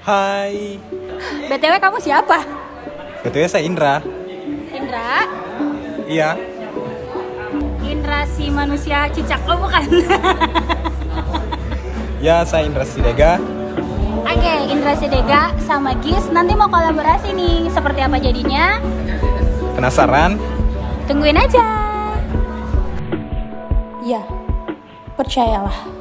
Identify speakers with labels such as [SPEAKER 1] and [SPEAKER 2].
[SPEAKER 1] Hai.
[SPEAKER 2] BTW kamu siapa?
[SPEAKER 1] Betulnya saya Indra.
[SPEAKER 2] Indra.
[SPEAKER 1] Iya.
[SPEAKER 2] Indra si manusia cicak. Oh bukan.
[SPEAKER 1] Ya, saya Indra Sidega.
[SPEAKER 2] Oke, Indra Sidega sama Gis nanti mau kolaborasi nih. Seperti apa jadinya?
[SPEAKER 1] Penasaran?
[SPEAKER 2] Tungguin aja. Ya, Iya, percayalah.